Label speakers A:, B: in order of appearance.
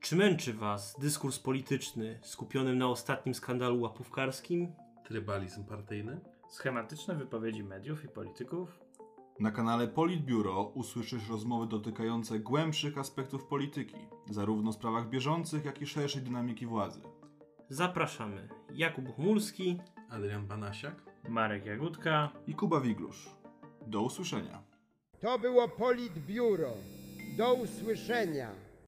A: Czy męczy was dyskurs polityczny skupionym na ostatnim skandalu łapówkarskim?
B: Trybalizm partyjny?
C: Schematyczne wypowiedzi mediów i polityków?
D: Na kanale Politbiuro usłyszysz rozmowy dotykające głębszych aspektów polityki, zarówno w sprawach bieżących, jak i szerszej dynamiki władzy.
A: Zapraszamy. Jakub Chmulski.
B: Adrian Banasiak?
C: Marek Jagódka?
D: I Kuba Wiglusz. Do usłyszenia.
E: To było Politbiuro. Do usłyszenia.